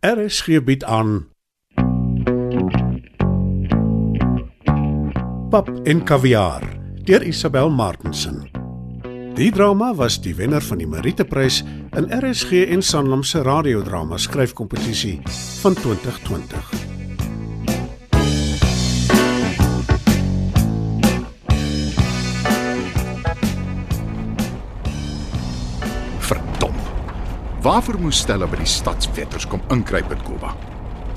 RSG bied aan Pap en Kaviaar deur Isabel Martensen. Die drama was die wenner van die Meriteprys in RSG en Sanlam se radiodrama skryfkompetisie van 2020. Verdom. Waarvoor moes Stella by die stadswetters kom inkruip in Koba?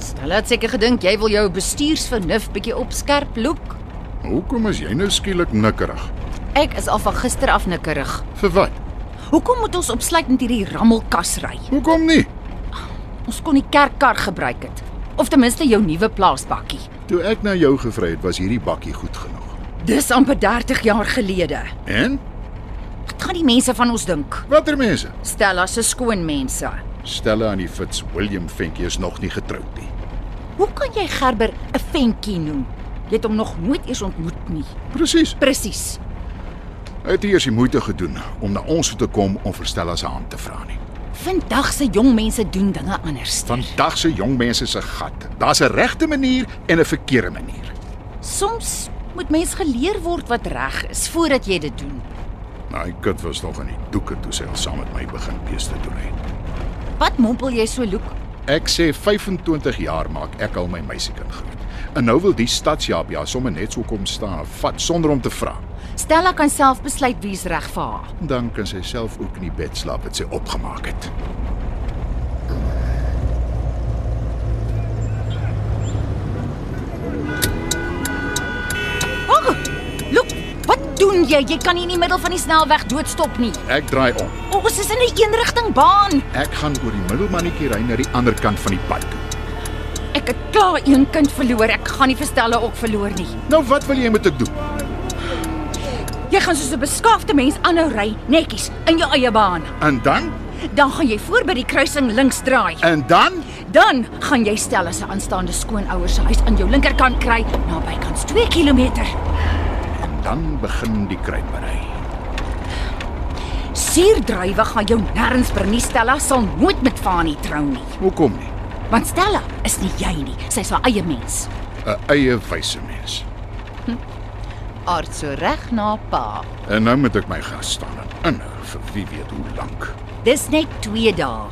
Stella het seker gedink jy wil jou bestuursvernuf bietjie op skerp loop. Hoekom is jy nou skielik nikkerig? Ek is al van gister af nikkerig. Vir wat? Hoekom moet ons opsluit met hierdie rammelkas ry? Hoekom nie? Ons kon die kerkkar gebruik het of ten minste jou nuwe plaasbakkie. Toe ek na jou gevra het, was hierdie bakkie goed genoeg. Dis amper 30 jaar gelede. En Wat gaan die mense van ons dink? watter mense? Stella se skoonmense. Stella en die Fitzwilliam ventjie is nog nie getroud nie. Hoe kan jy Gerber 'n ventjie noem? Jy het hom nog nooit eens ontmoet nie. Presies. Presies. Hy het nie eers die moeite gedoen om na ons toe te kom om vir Stella se hand te vra nie. Vandag se jong mense doen dinge anders. Vandag se jong mense se gat. Daar's 'n regte manier en 'n verkeerde manier. Soms moet mens geleer word wat reg is voordat jy dit doen. Nou, hy kind was nog in die doeke toe sy al saam met my begin beeste toe ry. Wat mompel jy so loek? Ek sê 25 jaar maak ek al my meisiekind groot. En nou wil die stadsjaapia sommer net so kom staan, vat sonder om te vra. Stella kan self besluit wie's reg vir haar. Dan kan sy self ook in die bed slaap wat sy opgemaak het. Oh, look, wat doen jy? Jy kan nie in die middel van die snelweg doodstop nie. Ek draai om. Ons is in 'n eenrigting baan. Ek gaan oor die middelmannetjie ry na die ander kant van die pad toe. Ek het klaar een kind verloor. Ek gaan nie vir Stella ook verloor nie. Nou wat wil jy met ek doen? Jy gaan soos 'n beskaafde mens aanhou ry, netjies in jou eie baan. En dan? Dan gaan jy voor by die kruising links draai. En dan? Dan gaan jy Stella se aanstaande skoonouers se huis aan jou linkerkant kry, nabykans 2 km. Dan begin die kruipery. Suurdruiwe gaan jou nêrens bernie Stella sal nooit met Fanie trou nie. Hoekom nie? Want Stella is nie jy nie, sy's haar eie mens. 'n Eie wyse mens. Aard so reg na pa. En nou moet ek my gas staan en inhou vir wie weet hoe lank. Dis net 2 dae.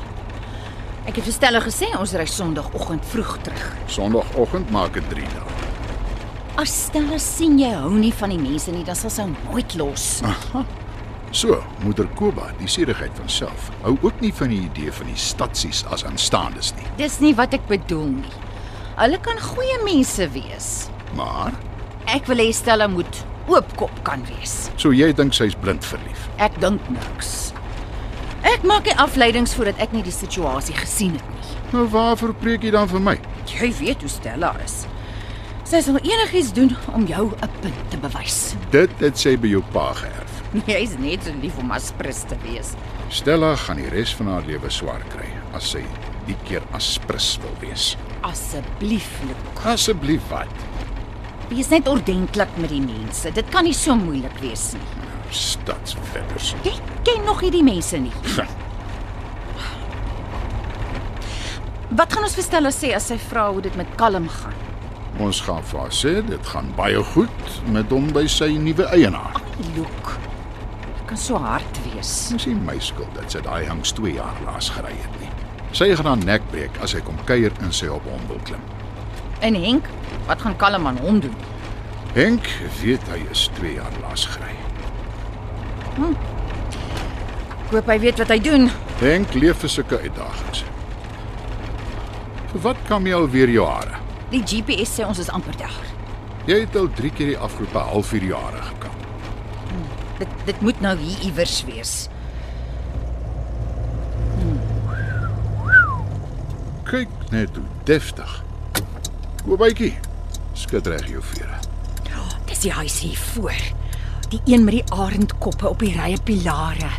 Ek het vir Stella gesê ons ry Sondagoggend vroeg terug. Sondagoggend maak dit 3 dae. As Stella sien jy hou nie van die mense nie, dan sal sy hom nooit los. So, moeder Koba, die sierigheid van self, hou ook nie van die idee van die stadsies as aanstaandes nie. Dis nie wat ek bedoel nie. Hulle kan goeie mense wees. Maar, Ek wil hê Stella moet oopkop kan wees. so jy dink sy's blind verlief. Ek dink niks. Ek maak nie afleidings voordat ek nie die situasie gesien het nie. Nou waarvoor preek jy dan vir my? Jy weet hoe Stella is. Sy sal enigiets doen om jou 'n punt te bewys. Dit het sy by jou pa geerf. Jy's net so lief om aspres te wees. Stella gaan die res van haar lewe swaar kry as sy die keer aspris wil wees. Asseblief, Luke. Asseblief wat? Wees net ordentlik met die mense. Dit kan nie so moeilik wees nie. Nou, Stadsvitters. Jy ken nog hierdie mense nie. Wat gaan ons vir Stella sê as sy vra hoe dit met Kalm gaan? Ons gaan vir haar sê dit gaan baie goed met hom by sy nuwe eienaar. Luke. Jy kan so hard wees. Dis nie my skuld dat sy daai hangs 2 jaar laas gery het nie. Sy gaan haar nek breek as hy kom kuier en sy op hom wil klim. En Henk, wat gaan Kalm aan hom doen? Henk weet hy is 2 jaar laas gery. Ek hoop hy weet wat hy doen. Henk leef vir sulke uitdagings. Vir wat kam jy al weer jou hare? Die GPS sê ons is amper daar. Jy het al 3 keer die afgelope halfuur jou hare gekap. Dit dit moet nou hier iewers wees. Kyk net hoe deftig. Koobytjie, skud reg jou vere. Dis die huis hier voor. Die een met die arendkoppe op die rye pilare.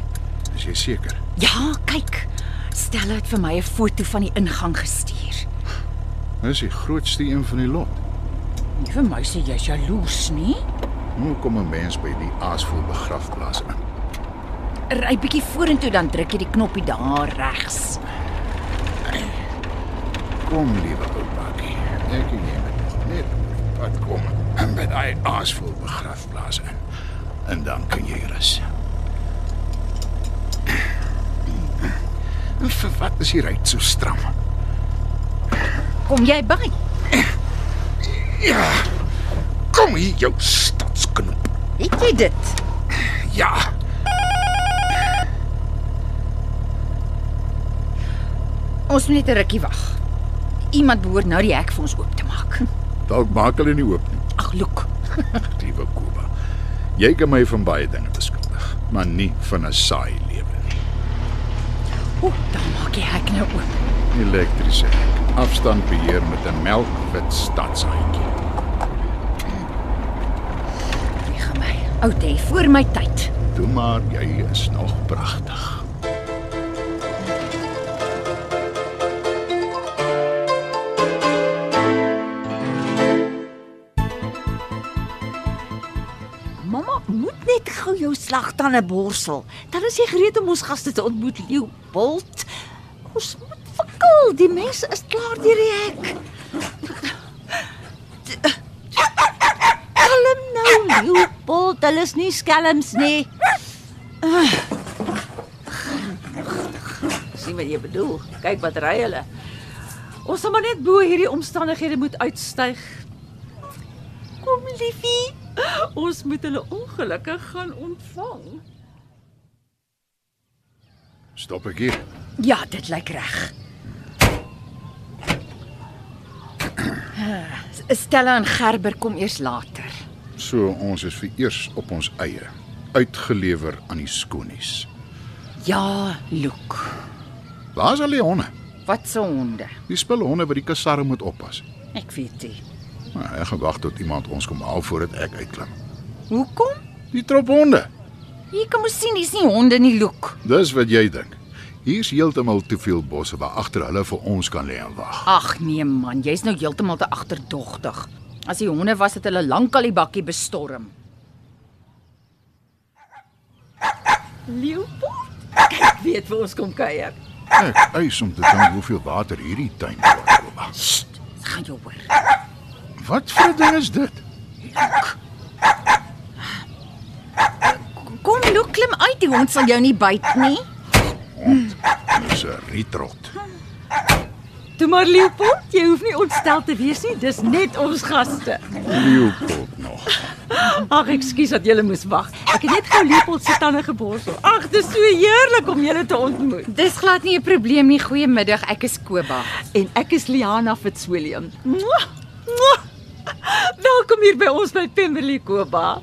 Is jy seker? Ja, kyk. Stella het vir my 'n foto van die ingang gestuur. Dis die grootste een van die lot. Nie vir my sê jy's jaloers nie. Hoe kom 'n mens by die aasvoel begrafplaas in? Ry bietjie vorentoe dan druk jy die knoppie daar regs. kom, liewe ou bakkie. Ek en jy moet net pad kom en by daai aasvol begrafplaas in. En dan kan jy rus. En vir wat is hier uit so stram? Kom jy by? Ja. Kom hier jou stadsknoop. Het jy dit? Ja. Ons moet net 'n rukkie wag. Iemand behoort nou die hek vir ons oop te maak. Dalk maak hulle nie oop nie. Ag, look. Liewe Kuba. Jy kan my van baie dinge beskuldig, maar nie van 'n saai lewe nie. O, dan maak die hek nou oop. Elektriese hek. Afstand beheer met 'n melkwit stadshandjie. Jy gaan my. Ou Dave, voor my tyd. Toe maar jy is nog pragtig. Mamma moet net gou jou slagtande borsel. Dan is jy gereed om ons gaste te ontmoet, Leopold. Ons moet fakkel, die mense is klaar deur die hek. Kalm nou, Leopold, hulle is nie skelms nie. Ah. Sien wat jy bedoel. Kyk wat ry hulle. Ons sal maar net bo hierdie omstandighede moet uitstyg. Kom liefie. Ons moet hulle ongelukkig gaan ontvang. Stop ek hier. Ja, dit lyk reg. Ah, Stella en Gerber kom eers later. So ons is vereers op ons eie, uitgelewer aan die skoonies. Ja, Luke. Waar's al die honde? Wat se honde? Die spulhonde wat die kasarre moet oppas. Ek weet nie. Nou, ek gaan wag tot iemand ons kom haal voordat ek uitklim. Hoekom? Die trophonde. Jy kan mos sien dis nie honde nie, Luke. Dis wat jy dink. Hier's heeltemal te veel bosse waar agter hulle vir ons kan lê en wag. Ag nee man, jy's nou heeltemal te agterdogtig. As die honde was het hulle lankal die bakkie bestorm. Leopold, ek weet vir ons kom kuier. Ek eis om te dink hoeveel water hierdie tuin kort. Dit gaan jou hoor. Wat vir 'n ding is dit? Kom, Luke, klim uit. Die hond sal jou nie byt nie. Dis 'n rietrot. Toe maar Leopold, jy hoef nie ontstel te wees nie, dis net ons gaste. Leopold nog. Ag, ekskuus dat julle moes wag. Ek het net gou Leopold se tande geborsel. Ag, dis so heerlik om julle te ontmoet. Dis glad nie 'n probleem nie. Goeiemiddag, ek is Koba. En ek is Liana Fitzwilliam. Mwah, mwah. Welkom hier by ons by Pemberley Koba.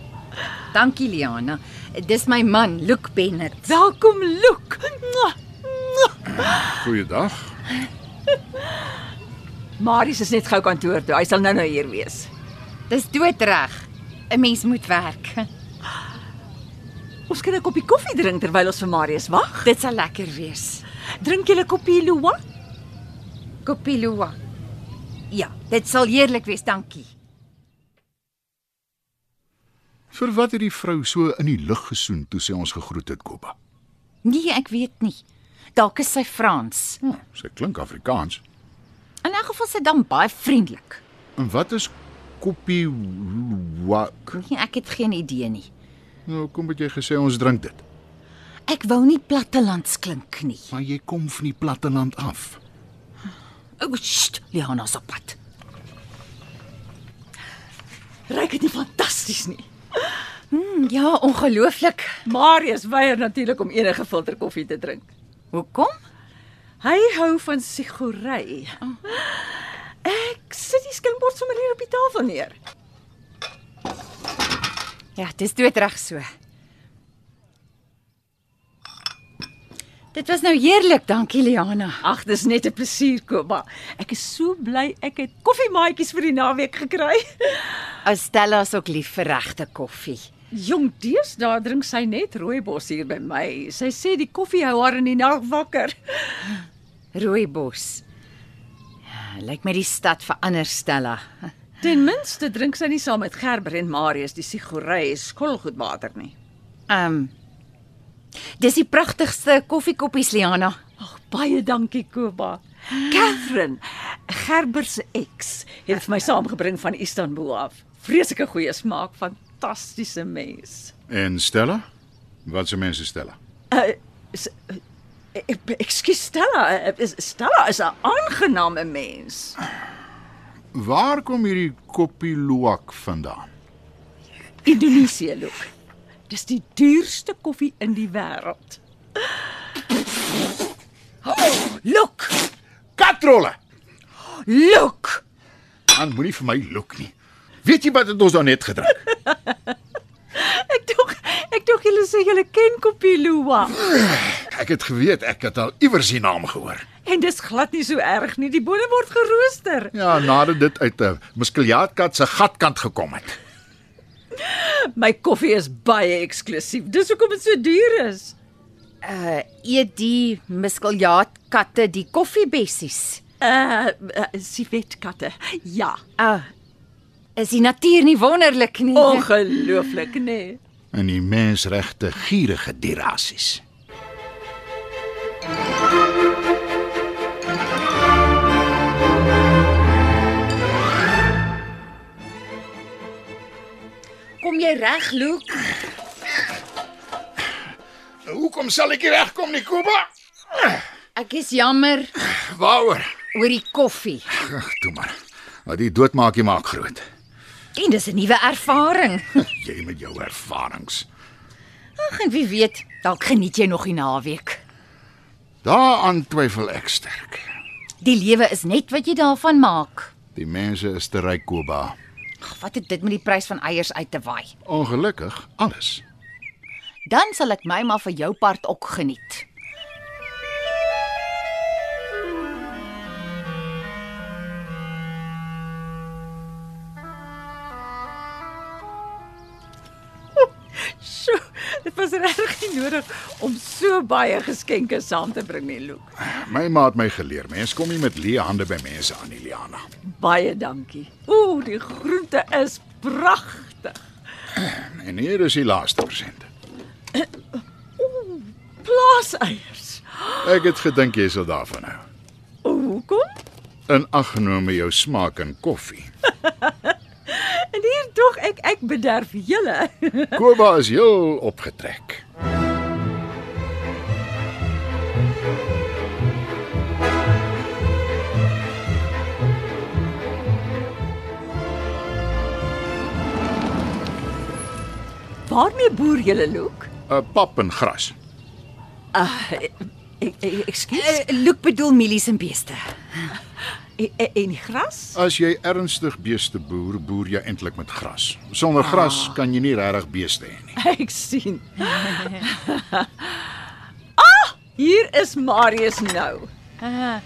Dankie Liana. Dis my man, Luke Bennett. Welkom Luke. Mwah, mwah. Goeiedag. Marius is net gou kantoor toe. Hy sal nou-nou hier wees. Dis doodreg. 'n Mens moet werk. Ons kan 'n koppie koffie drink terwyl ons vir Marius wag. Dit sal lekker wees. Drink julle koppie Lua? Kopilua. Ja, dit sal heerlik wees, dankie. Vir wat het die vrou so in die lug gesoen toe sy ons gegroet het, Koba? Nee, ek weet nie. Dalk is sy Frans. Hm, sy klink Afrikaans. In 'n geval sy dan baie vriendelik. En wat is koppie wak? Nee, ek het geen idee nie. Nou kom dit jy gesê ons drink dit. Ek wou nie plattelands klink nie. Maar jy kom van die platteland af. O, sst, Liana se pad. Ryk dit nie fantasties nie. Ja, ongelooflik. Marius weier natuurlik om enige filter koffie te drink. Hoekom? Hy hou van sigory. Oh. Ek sit die skimbord sommer hier op die tafel neer. Ja, dis doodreg so. Dit was nou heerlik, dankie Liana. Ag, dis net 'n plesier, Koma. Ek is so bly ek het koffiemaatjies vir die naweek gekry. As Stella is ook lief vir regte koffie. Jong deesdae drink sy net rooibos hier by my. Sy sê die koffie hou haar in die nag wakker. Rooibos. Ja, lyk my die stad verander Stella. Ten minste drink sy nie saam met Gerber en Marius die sigory skolgoedwater nie. Ehm um, Dis die pragtigste koffiekoppies Liana. Ag, baie dankie, Koma. Catherine, Gerber se ex, het vir my saamgebring van Istanbul af. Vreeslike goeie smaak, fantastiese mens. En Stella? Wat se mense Stella? Uh, s- uh, ek- Ekskuus Stella, eh, is- Stella is 'n aangename mens. Waar kom hierdie koppie luwak vandaan? Indonesië loop. Dis die duurste koffie in die wêreld. Oh, look, Katrolle. look. Dan moenie vir my look nie. Weet jy wat het ons dan net gedrink? Ek dink ek dink julle sê julle ken Kopilua. Ek het geweet ek het al iewers die naam gehoor. En dis glad nie so erg nie. Die bone word gerooster. Ja, nadat dit uit 'n muskeljaatkat se gatkant gekom het. My koffie is baie eksklusief. Dis hoekom dit so duur is. Uh eet die miskeljaat katte die koffiebessies. Uh, uh sivetkatte. Ja, Uh is die natuur nie wonderlik nie? ongelooflik, nê. Nee. En die mensregte gierige dierasies. Kom jy reg, Luke? Hoekom sal ek nie regkom nie, Kuba? Ek is jammer Waaroor? oor die koffie. Ag, toe maar. Nou die doodmaak jy maak groot. En dis 'n nuwe ervaring. Jy met jou ervarings. Ag en wie weet, dalk geniet jy nog die naweek. Daaraan twyfel ek sterk. Die lewe is net wat jy daarvan maak. Die mense is te ryk, Kuba. Ag, wat het dit met die prys van eiers uit te waai? Ongelukkig alles. Dan sal ek my maar vir jou part ook geniet. Sjoe, dit was regtig nie nodig om so baie geskenke saam te bring nie, Luke. My ma het my geleer, mens kom nie met leë hande by mense aan, Eliana. Baie dankie. Ooh, die groente is pragtig. En hier is die laaste persent. Plaaseiers. Ek het gedink jy sal daarvan hou. Ooh, hoekom? In aggenome jou smaak in koffie. En hier tog ek ek bederf julle. Koba is heel opgetrek. Waarmee boer julle loek? 'n Pap en gras. Ah, ek ek e, ekskuus. Uh, Loek bedoel mielies en beeste. E, En die gras? As jy ernstig beeste boer, boer jy eintlik met gras. Sonder gras kan jy nie regtig beeste hê nie. Ek sien. ah, hier is Marius nou. Ja,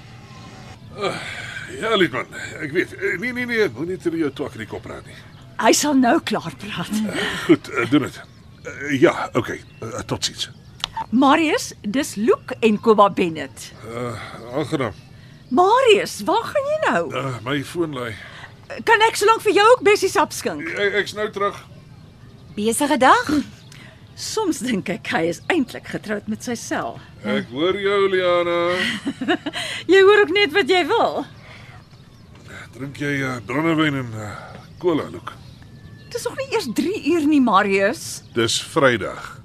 Liedman, ek weet. Eh, Nee nee nee, moenie ter jou twak in die kop raak nie. Hy sal nou klaar praat. Goed, eh, doen dit. Eh, Ja, okay. eh, Tot sins. Marius, dis Luke en Koba Bennett. Uh, aangenaam. Marius, waar gaan jy nou? Uh, my foon lui. Kan ek solank vir jou ook bessie sap skink? Ek, ek's nou terug. Besige dag. Soms dink ek hy is eintlik getroud met sy self. Ek hoor jou, Liana. Jy hoor ook net wat jy wil. Drink jy uh, brandewyn en uh, cola, Luke? Dis nog nie eers 3 uur nie, Marius. Dis Vrydag.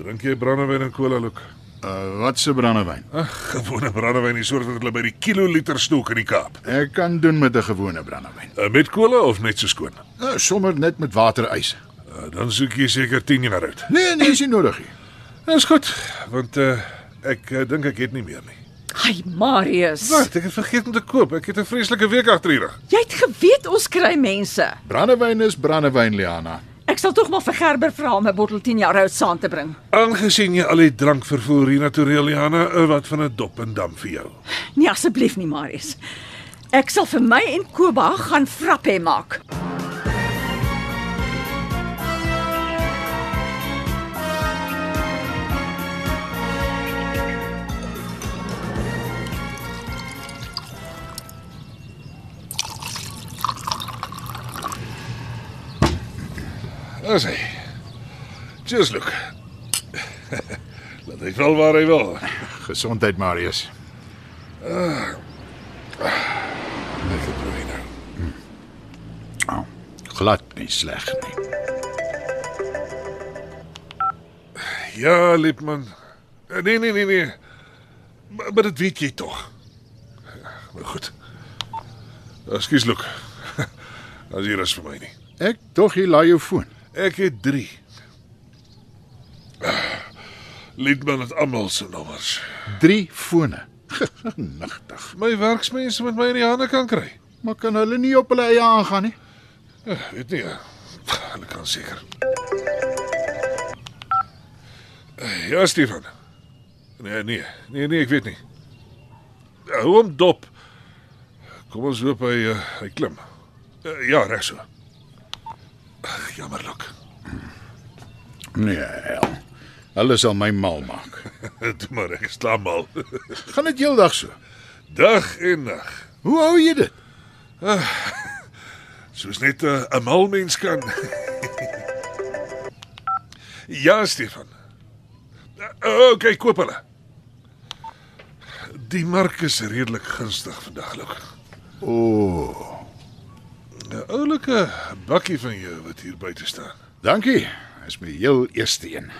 Drink jy brandewyn en cola, Luke? Uh, wat se brandewyn? Ag, gewone brandewyn, die soort wat hulle by die kiloliter stoek in die Kaap. Ek kan doen met 'n gewone brandewyn. Uh, met cola of net so skoon? Uh, sommer net met waterys. Uh, dan soek jy seker 10 jaar oud. Nee, nee, is nie nodig nie. Dis goed, want uh, ek uh, dink ek het nie meer nie. Hi Marius. Wag, ek het vergeet om te koop. Ek het 'n vreeslike week agter die rug. Jy het geweet ons kry mense. Brandewyn is brandewyn, Liana. Ek sal tog maar vir Gerber vra om 'n bottel 10 jaar oud saam te bring. Aangesien jy al die drank vervoer hier na Toreliana, uh, wat van 'n dop en dam vir jou. Nee asseblief nie Marius. Ek sal vir my en Koba gaan frappe maak. Dis hy. Cheers, Luke. Laat hy val waar hy wil. Gesondheid, Marius. Lekker prooi nou. Mm. Oh, glad nie sleg nie. Ja, Lipman. Nee, nee, nee, nee. Maar, maar dit weet jy tog. Maar goed. Ekskuus, Luk. As jy rus vir my nie. Ek tog jy laai jou foon. Ek het 3. Lidman het almal se nommers. 3 fone. Nagtig. My werksmense moet my in die hande kan kry. Maar kan hulle nie op hulle eie aangaan nie? Eh, Weet nie. eh, Hulle kan seker. Eh, Ja, Stefan. Nee, nee. Nee, nee, ek weet nie. Eh, Hou hom dop. Kom ons loop hy eh, hy klim. Eh, Ja, reg so. Ag, Jammer, Luk. Nee, hel. Hulle sal my mal maak. Dit maar ek slaap al. Gaan dit heeldag so? Dag en nag. Hoe hou jy dit? Soos net 'n uh, mal mens kan. ja, Stefan. O, okay, koop hulle. Die mark is redelik gunstig vandag, Luk. O, oh, 'n Oulike bakkie van jou wat hier buite staan. dankie. Dis my heel eerste een.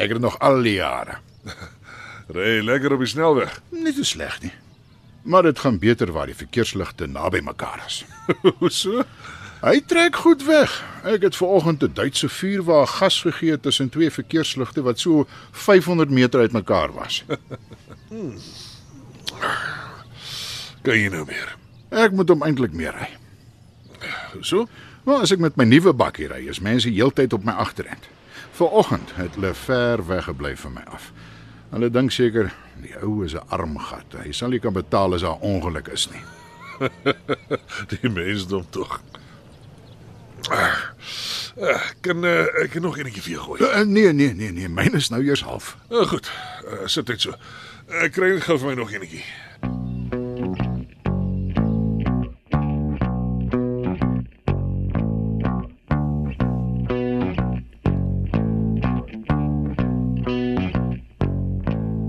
Ek het dit nog al die jare. Ry lekker op die snelweg. Nie te sleg nie. Maar dit gaan beter waar die verkeersligte naby mekaar is. Hoe so? Hy trek goed weg. Ek het vanoggend 'n Duitse vuurwa gas gegee tussen twee verkeersligte wat so 500 meter uitmekaar was. Kan jy nou meer? Ek moet hom eintlik meer ry. Hoe so? Wel, as ek met my nuwe bakkie ry, is mense heeltyd op my agterend. Vanoggend het hulle ver weggebly van my af. Hulle dink seker die ou is 'n armgat. Hy sal nie kan betaal as daar ongeluk is nie. Die mensdom tog. Ah, ah, Kan eh, ek nog enetjie vir jou gooi? Eh, Nee, nee, nee, nee, myne is nou eers half. Uh, goed, uh, sit net so. Ek kry net gou vir my nog enetjie.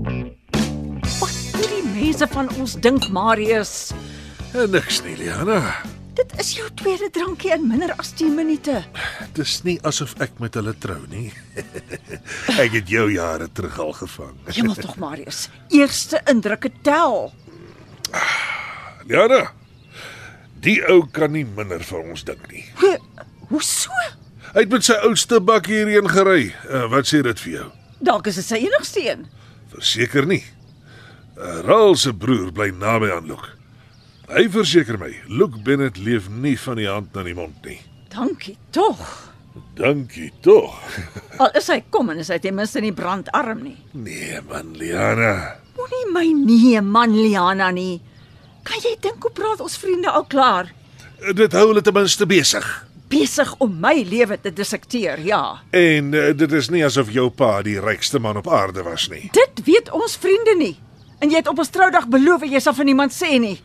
Wat moet die mense van ons dink Marius? Eh, Niks nie, Liana. Dit is jou tweede drankie in minder as 10 minute. Dit is nie asof ek met hulle trou nie. ek het jou jare terug al gevang. Hemel tog Marius. Eerste indrukke tel. Liana. Die ou kan nie minder vir ons dink nie. Hoe hoe so? Hy het met sy oudste bak hierheen gery. Uh, wat sê dit vir jou? Dalk is dit sy enigste een. Verseker nie. Uh, Raal se broer bly naby aan Luke. Hy verseker my, Luke Bennett leef nie van die hand na die mond nie. Dankie tog. Dankie tog. Al is hy kom en is hy ten minste nie brandarm nie. Nee man, Liana. Moenie my nee man Liana nie. Kan jy dink hoe praat ons vriende al klaar? Eh, Dit hou hulle ten minste besig. Besig om my lewe te dissekteer, ja. En uh, dit is nie asof jou pa die rykste man op aarde was nie. Dit weet ons vriende nie. En jy het op ons troudag beloof jy sal van niemand sê nie.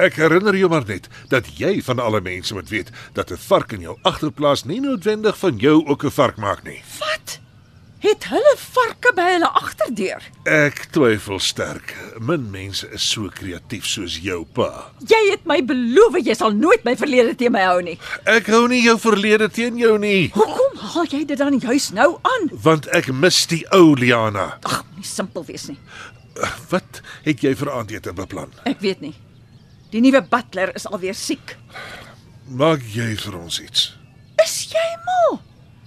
Ek herinner jou maar net dat jy van alle mense moet weet dat 'n vark in jou agterplaas nie noodwendig van jou ook 'n vark maak nie. Wat? Het hulle varke by hulle agterdeur? Ek twyfel sterk. Min mense is so kreatief soos jou pa. Jy het my beloof jy sal nooit my verlede teen my hou nie. Ek hou nie jou verlede teen jou nie, Hoekom haal jy dit dan juis nou aan? want ek mis die ou Liana. Ag, nie simpel wees nie. Wat het jy vir aandete beplan? Ek weet nie. Die nuwe butler is alweer siek. Maak jy vir ons iets? Is jy mal?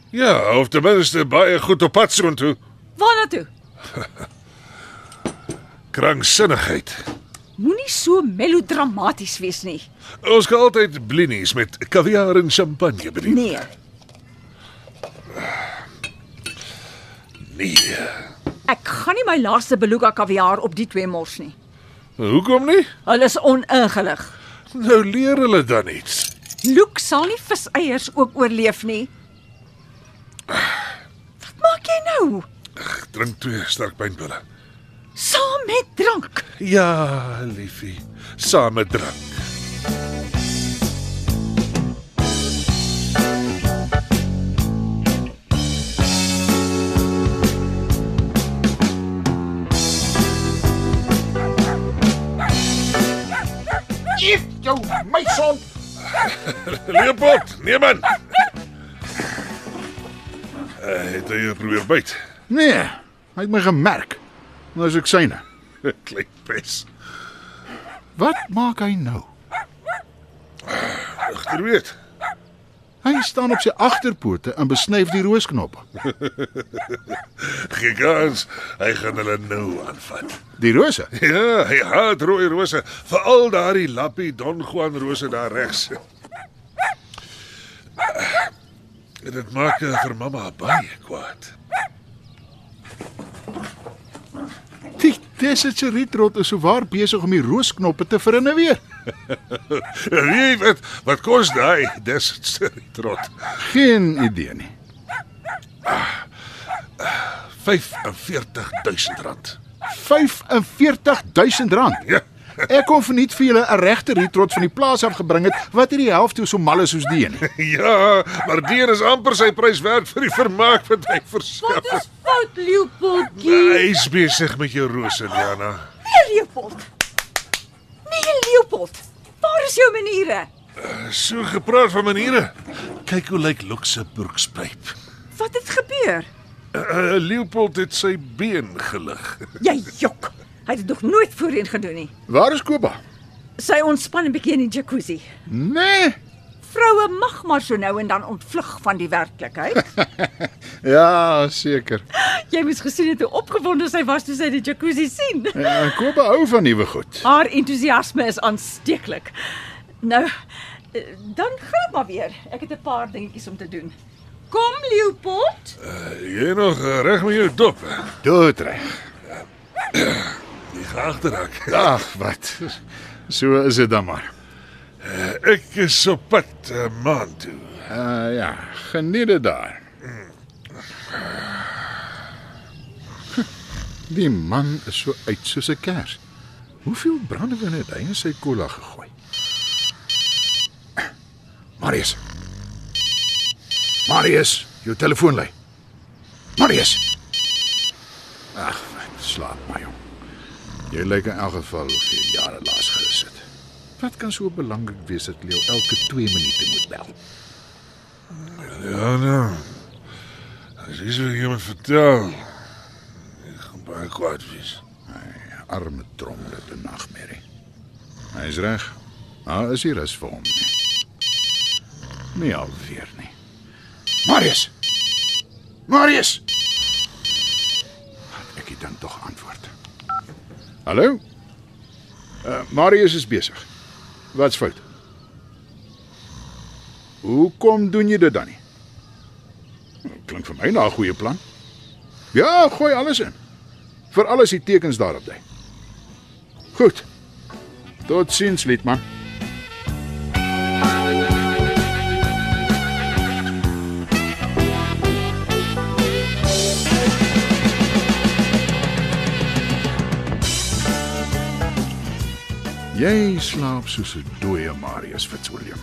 Ja, of ten minste baie goed op pad soontoe. Waarna toe? Kranksinnigheid. Moenie so melodramaties wees nie. Ons kan altyd blinis met kaviaar en champagne bedien. Nee, nee. ek gaan nie my laaste beluga kaviaar op die twee mors nie. Hoekom nie? Hulle is oningelig. Nou leer hulle dan iets. Luke sal nie viseiers ook oorleef nie. Wat maak jy nou? Ek drink twee sterk pynpille. Saam met drank. Ja, liefie. Same drink. jou my son. Leopold, neem aan. Eh, Het hy jou probeer byt. Nee, hy het my gemerk. Nou is ek syne. Klein pes. Wat maak hy nou? Agter weet. Hy staan op sy agterpote en besnyf die roosknoppe. Geen kans. Hy gaan hulle nou aanvat. Die rose. Ja, hy haat rooi rose, veral daardie lappie Don Juan rose daar regs. En dit maak eh, vir mamma baie kwaad. Die desetseritrot is souwaar besig om die roosknoppe te verinne weer. Wie weet wat kos daai dis trot. Geen idee nie. 45000 rand. 45000 rand. Ja. Ek kon verniet vir julle 'n regte retrot van die plaas af gebring het wat hierdie helfte so mal is soos die een. Ja, maar dier is amper sy prys werd vir die vermaak wat hy verskaf. Wat is fout, Leopoldjie? Hy is besig met jou rose, Liana. Nee, Leopold. Nee, Leopold. Waar is jou maniere? So gepraat van maniere. Kyk hoe lyk Luxemburg se pyp. Wat het gebeur? Uh, Leopold het sy been gelig. Jy jok. Hy het dit nog nooit voorheen gedoen nie. Waar is Koba? Sy ontspan 'n bietjie in die jacuzzi. Nee. Vroue mag maar so nou en dan ontvlug van die werklikheid. Ja, seker. Jy moes gesien het hoe opgewonde sy was toe sy die jacuzzi sien. Ja, Koba hou van nuwe goed. Haar entoesiasme is aansteeklik. Nou, eh, dan gaan maar weer. Ek het 'n paar dingetjies om te doen. Kom, Leopold. Jy nog eh, reg met jou dop. Dood reg. Die agterhak. Ag, wat. So is dit dan maar. Ek is op pad uh, maan toe. Uh ja, geniet dit daar. Die man is so uit soos 'n kers. Hoeveel brandewyn het hy in sy cola gegooi? Marius. Marius, jou telefoon lei. Marius. Ag, wat slaap my jong. Jy lyk in elk geval of jy jare laas gerus het. Wat kan so belangrik wees dat jy jou elke 2 minute moet bel? Ja nou. As jy so iemand vertel, ek gaan baie kwaad wees. arme trommel het 'n nagmerrie. Hy is reg. Daar is hier rus vir hom nie. Nie alweer nie. Marius. Marius. Ek het dan tog antwoord. Hallo? Uh, Marius is besig. Wat's fout? Hoekom doen jy dit dan nie? Klink vir my na 'n goeie plan. Ja, gooi alles in. Vir alles die tekens daarop dui. Goed. Tot sins, Liedman. Jy slaap soos 'n dooie Marius Fitzwilliam.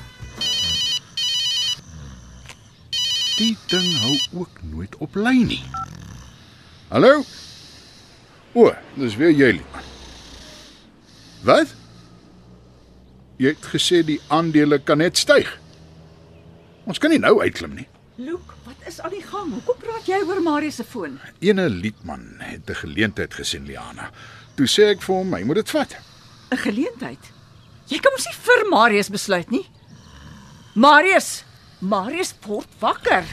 Die ding hou ook nooit op lyn nie. Hallo? O, dis weer jy. Liedman. Wat? Jy het gesê die aandele kan net styg. Ons kan nie nou uitklim nie. Loek, wat is aan die gang? Hoekom praat jy oor Marius se foon? Ene Liedman het 'n geleentheid gesien, Liana. Toe sê ek vir hom, hy moet dit vat. 'n Geleentheid. Jy kan mos nie vir Marius besluit nie. Marius, Marius word wakker.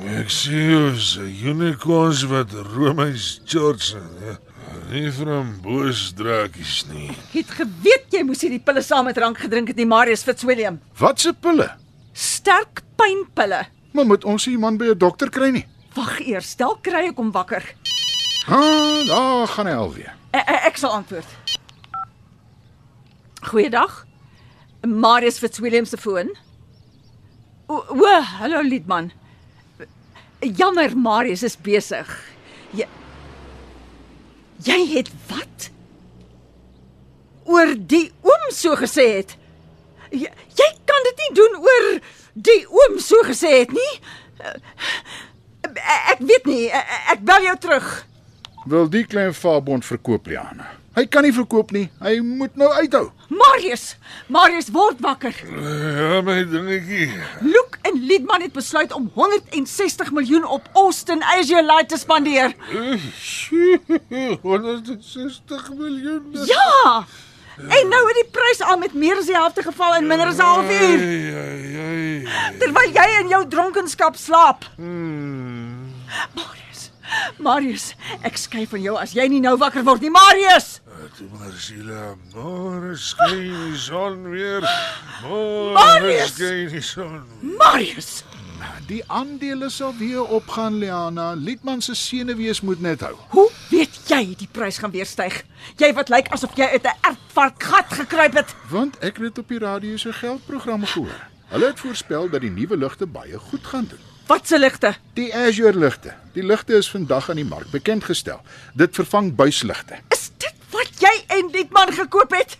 Ek sien jy's 'n unicorns wat Romeis George eh, nie van boos drakies nie. Ek het geweet jy moes hierdie pille saam met drank gedrink het nie, Marius Fitzwilliam. Wat se pille? Sterk pynpille. Maar moet ons nie iemand by 'n dokter kry nie? Wag eers, dalk kry ek hom wakker. Ha, daar gaan hy alweer. E e- ek sal antwoord. Goeiedag. Marius Fitzwilliam se foon. O, o, hallo Liedman. Jammer Marius is besig. Jy Jy het wat? Oor die oom so gesê het. Jy, jy kan dit nie doen oor die oom so gesê het nie. Eh, Ek weet nie, eh, ek bel jou terug. Wil die klein vaabond verkoop, Liana? Hy kan nie verkoop nie. Hy moet nou uithou. Marius, Marius word wakker. Ja, my dingetjie. Luke en Liedman het besluit om 160 miljoen op Austin Asialite te spandeer. 160 miljoen. Ja! En nou het die prys al met meer as die helfte geval in minder as 'n halfuur, ai, ai. terwyl jy in jou dronkenskap slaap. Marius. Marius, ek skei van jou as jy nie nou wakker word nie, Marius. Toe maar Sheila, môre skyn die son weer. Môre Marius! skyn die son. weer. Marius. Die aandele sal weer opgaan, Liana. Liedman se senuwees moet net hou. Hoe weet jy die prys gaan weer styg? Jy wat lyk asof jy uit 'n erfvark gat gekruip het. Want ek het dit op die radio se geldprogram gehoor. Hulle het voorspel dat die nuwe ligte baie goed gaan doen. Wat se ligte? Die Azure ligte. Die ligte is vandag aan die mark bekend gestel. Dit vervang buisligte. Is dit wat jy en Liedman gekoop het?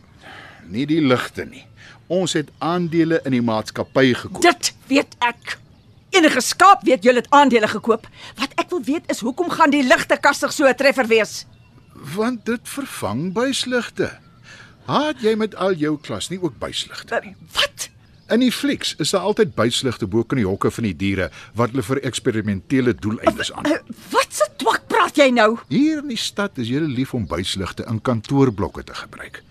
Nie die ligte nie. Ons het aandele in die maatskappy gekoop. Dit weet ek. Enige skaap weet jy het aandele gekoop. Wat ek wil weet is hoekom gaan die ligte kastig so 'n treffer wees? Want dit vervang buisligte. Haat jy met al jou klas nie ook buisligte? Eh, Wat? In die flieks is daar altyd buisligte bo kan die hokke van die diere wat hulle vir eksperimentele doeleindes aan. Eh, Wat se twak praat jy nou? Hier in die stad is julle lief om buisligte in kantoorblokke te gebruik.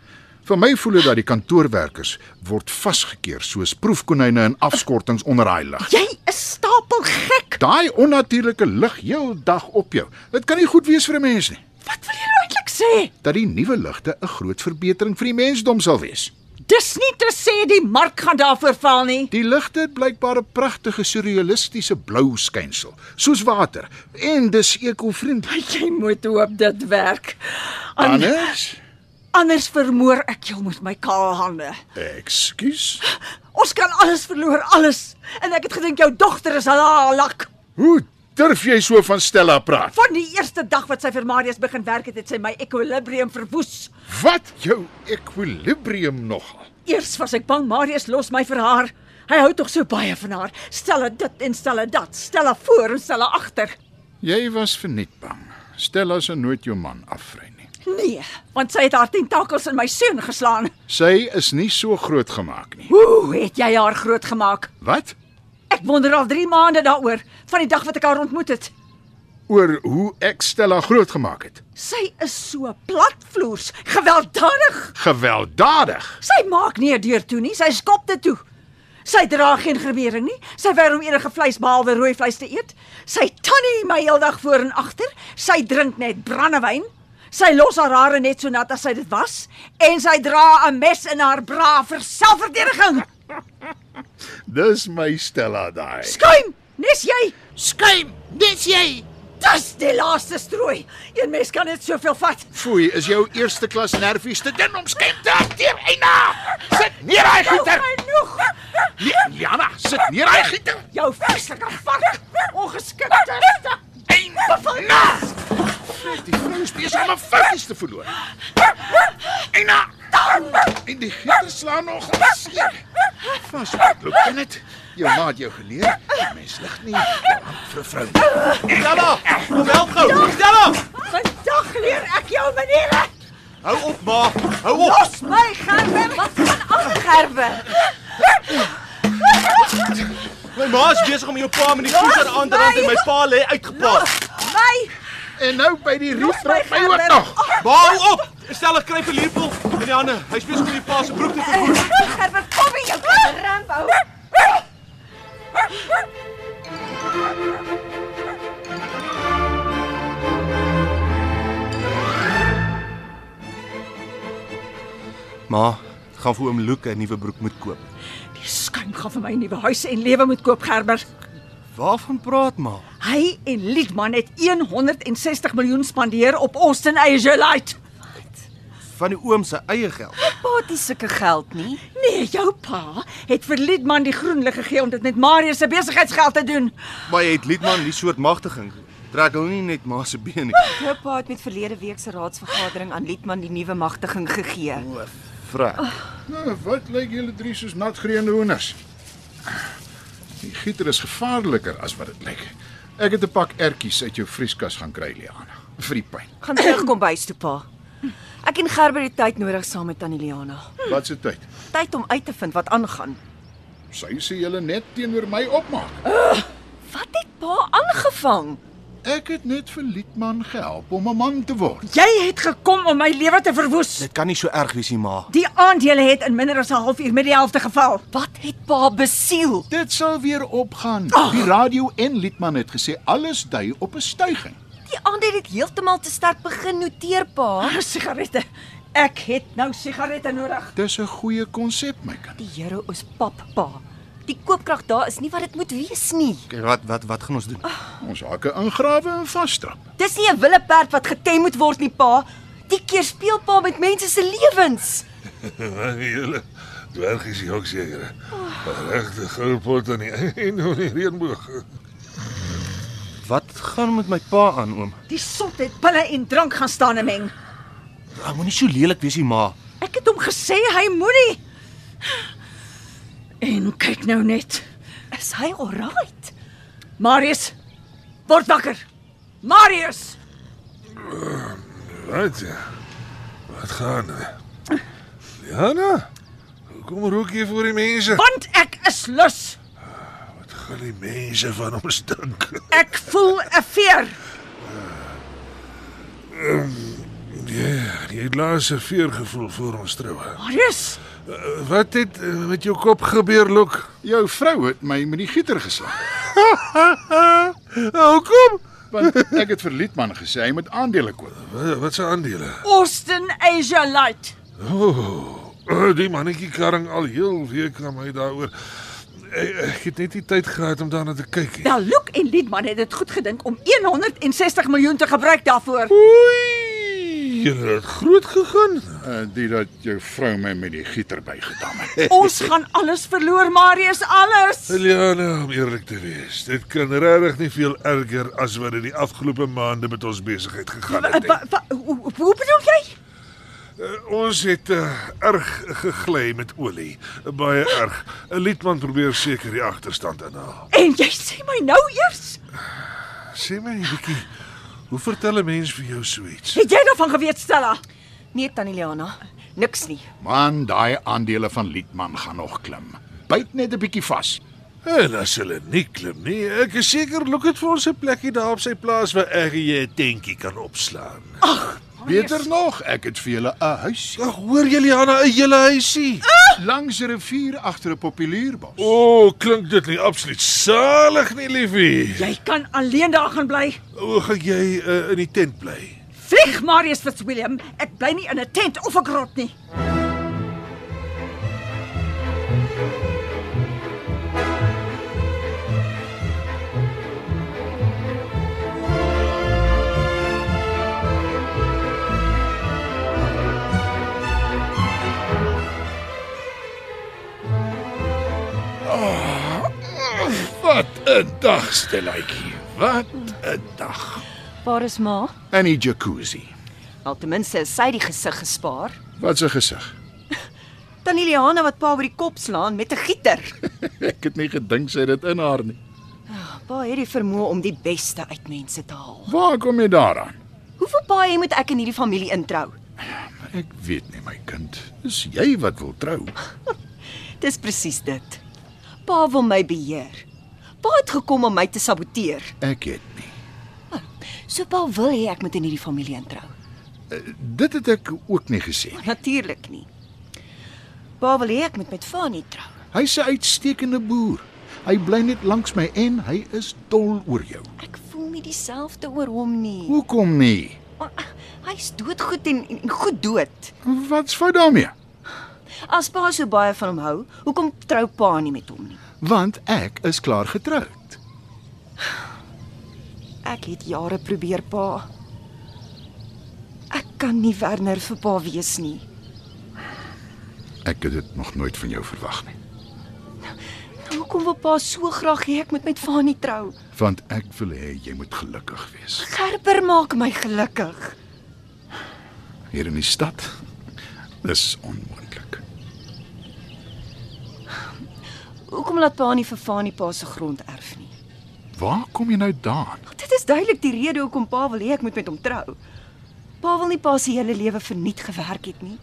Vir my voel dit dat die kantoorwerkers word vasgekeer soos proefkonyne in afskortings onder daai lig. Jy is stapel gek. Daai onnatuurlike lig heel dag op jou. Dit kan nie goed wees vir 'n mens nie. Wat wil jy nou eintlik sê? Dat die nuwe ligte 'n groot verbetering vir die mensdom sal wees. Dis nie te sê die mark gaan daarvoor val nie. Die ligte het blykbaar 'n pragtige surrealistiese blou skynsel, soos water, en dis ekovriendelik. Jy moet hoop dit werk. An Anders? anders vermoor ek jou met my kaal hande. Ekskuus. Ons kan alles verloor, alles. En ek het gedink jou dogter is halalak. Hoe durf jy so van Stella praat? Van die eerste dag wat sy vir Marius begin werk het, het sy my ekwilibrium verwoes. Wat jou ekwilibrium nogal? Eers was ek bang Marius los my vir haar. Hy hou tog so baie van haar. Stel dit dit en stel dit dat. Stel haar voor en stel haar agter. Jy was verniet bang. Stella sal nooit jou man afvry nie. Nee, want sy het haar tentakels in my seun geslaan. Sy is nie so groot gemaak nie. Hoe het jy haar grootgemaak? Wat? Ek wonder al 3 maande daaroor, van die dag wat ek haar ontmoet het. Oor hoe ek Stella groot gemaak het. Sy is so platvloers, gewelddadig. Gewelddadig. Sy maak nie 'n deur toe nie, sy skop dit toe. Sy dra geen grimering nie. Sy weier om enige vleis behalwe rooi vleis te eet. Sy tannie my heeldag voor en agter. Sy drink net brandewyn. Sy los haar hare net so nat as sy dit was en sy dra 'n mes in haar bra vir selfverdediging. Dis my Stella daai. Skuim, nes jy? Skuim, dis jy. Dis die laaste strooi. Een mes kan net soveel vat. Foei, is jou eerste klas nervies te dun om skuim te hanteer. Eina, sit neer daai Nou gieter. genoeg. Nee, Jana, sit neer daai gieter. Jou vieslike vark, ongeskikte. Eina. Die vrou is besig om 'n foutjies te verloor. Eina. En die gieter slaan nog al seer. Vas, loop in dit. Jou ma het jou geleer, mens lig nie jou hand vir 'n vrou nie. Stella, kom help gou. Stella, Vandag leer ek jou maniere. hou op ma. Hou op. Los my gerwe, wat gaan aan gerwe? My ma is besig om jou pa met die voet aan aan te rand en my pa lê uitgeplaas. My, En nou by die los my rietrak my ook gerwe. nou. nog. Ma, hou op. Stella kry 'n lepel in die hande. Hy's besig om jou pa se broek te vervoer. Gerwe, kom hier jou kind Rambo. Ma, gaan vir oom Luke 'n nuwe broek moet koop. Die skuim gaan vir my 'n nuwe huis en lewe moet koop Gerber. Waarvan praat ma? Hy en Liedman het 160 miljoen spandeer op Austin Azulite. Van die oom se eie geld. Paat nie sulke geld nie. Nee, jou pa het vir Liedman die groen lig gegee om dit met Marius se besigheidsgeld te doen. Maar jy het Liedman die soort magtiging. Trek hulle nie net ma se been nie. Jou pa het met verlede week se raadsvergadering aan Liedman die nuwe magtiging gegee. Vrek. Nou, wat lyk julle drie soos nat greende hoenders? Die gieter is gevaarliker as wat dit lyk. Ek het 'n pak ertjies uit jou vrieskas gaan kry, Liana, vir die pyn. Gaan terugkom by huis toe pa. Ek en Gerber het tyd nodig saam met Tannie Liana. Wat se tyd? Tyd om uit te vind wat aangaan. Sy sê julle net teenoor my opmaak. Wat het pa aangevang? Ek het net vir Liedman gehelp om 'n man te word. Jy het gekom om my lewe te verwoes. Dit kan nie so erg wees nie, ma. Die aandele het in minder as 'n halfuur met die helfte geval. Wat het pa besiel? Dit sal weer opgaan. Die radio en Liedman het gesê alles dui op 'n styging. Die aand het dit heeltemal te sterk begin noteer, pa. Ah, Sigarette. Ek het nou sigarette nodig. Dis 'n goeie konsep, my kind. Die Here is pap, pa. Die koopkrag daar is nie wat dit moet wees nie. Okay, wat wat wat gaan ons doen? Ons hake ingrawe en vasstrap. Dis nie 'n willeperd wat getem moet word nie, pa. Die keer speel pa met mense se lewens. Julle dwergies jok seker. Regte goudpot aan die einde van die reënboog. Wat gaan met my pa aan, oom? Die sot het pille en drank gaan staan en meng. Hy moenie so lelik wees nie, ma. Ek het hom gesê hy moenie. En kyk nou net. Is hy alright? Marius, word wakker. Marius, Wat? ja? Wat gaan? Jana? Kom rook jy voor die mense? want ek is lus. Wat gaan die mense van hom stink? Ek voel 'n veer. Ja, jy het laas 'n veer gevoel voor ons troue. Marius, Eh, Wat het eh, met jou kop gebeur, Lok? Jou vrou het my met die gieter geslag, Eh, Hoekom? want ek het vir Liedman gesê hy moet aandele koop. Wat, wat se aandele? Austin Asia Light. O, oh, die mannetjie karring al heel week aan my daaroor. Ek, ek het net nie tyd gehad om daarna te kyk nie. Wel, Luke en Liedman het dit goed gedink om 160 miljoen te gebruik daarvoor. Oei! Jy het groot gegaan. Uh, die dat jou vrou my met die gieter bygedam het. Ons gaan alles verloor, Marius, alles. Eliana, om eerlik te wees, dit kan regtig nie veel erger as wat dit die afgelope maande met ons besigheid gegaan het. nie. Wa- wa- Hoe hoe bedoel jy? Ons het uh, erg gegly met olie, baie erg. 'n Liedman probeer seker die agterstand inhaal. En jy sê my nou eers? Sê my, Nikki, hoe vertel 'n mens vir jou so iets? Het jy daarvan geweet, Stella? Nee, Tannie Liana, niks nie. Man, daai aandele van Liedman gaan nog klim. Byt net 'n bietjie vas. En as hulle nie klim nie, ek is seker loop dit vir ons 'n plekkie daar op sy plaas waar ek en jy 'n tentjie kan opslaan. Beter nog, ek het vir julle 'n huis Ag, hoor jy Eliana, 'n hele huisie. langs 'n rivier agter 'n populierbos. O, oh, klink dit nie absoluut salig nie, liefie. Jy kan alleen daar gaan bly. Hoe gaan jy uh, in die tent bly? Vlieg Marius Fitzwilliam, ek bly nie in 'n tent of 'n grot nie. Wat 'n dag, Stelletjie. Wat 'n dag. Waar is ma? En die jacuzzi. Wel ten minste is sy die gesig gespaar. Wat 'n gesig. Tannie Liana wat pa oor die kop slaan met 'n gieter. Ek het nie gedink sy het dit in haar nie. Pa het die vermoë om die beste uit mense te haal. Waar kom jy daaraan? Hoeveel paaie moet ek in hierdie familie introu? Ek weet nie, my kind. Dis jy wat wil trou. Dis presies dit. Pa wil my beheer. Pa het gekom om my te saboteer. Ek het nie. So pa wil hê ek moet in hierdie familie introu. Dit het ek ook nie gesê nie. Natuurlik nie. Pa wil hê ek moet met Fanie trou. Hy's 'n uitstekende boer. Hy bly net langs my en hy is dol oor jou. Ek voel nie dieselfde oor hom nie. Hoekom nie? Hy's doodgoed en, en, en goed dood. Wat's fout daarmee? As pa so baie van hom hou, hoekom trou pa nie met hom nie? Want ek is klaar getroud. Ek het jare probeer, pa. Ek kan nie Werner vir pa wees nie. Ek het dit nog nooit van jou verwag nie. Hoekom wil pa so graag hê ek moet met Fanie trou? Want ek wil hê jy moet gelukkig wees. Gerber maak my gelukkig. Hier in die stad is onmoontlik. Hoekom laat pa nie vir Fanie pa se grond erf nie? Waar kom jy nou daan? Dit is duidelik die rede hoekom pa wil hê ek moet met hom trou. Pa wil nie pa se hele lewe verniet gewerk het nie.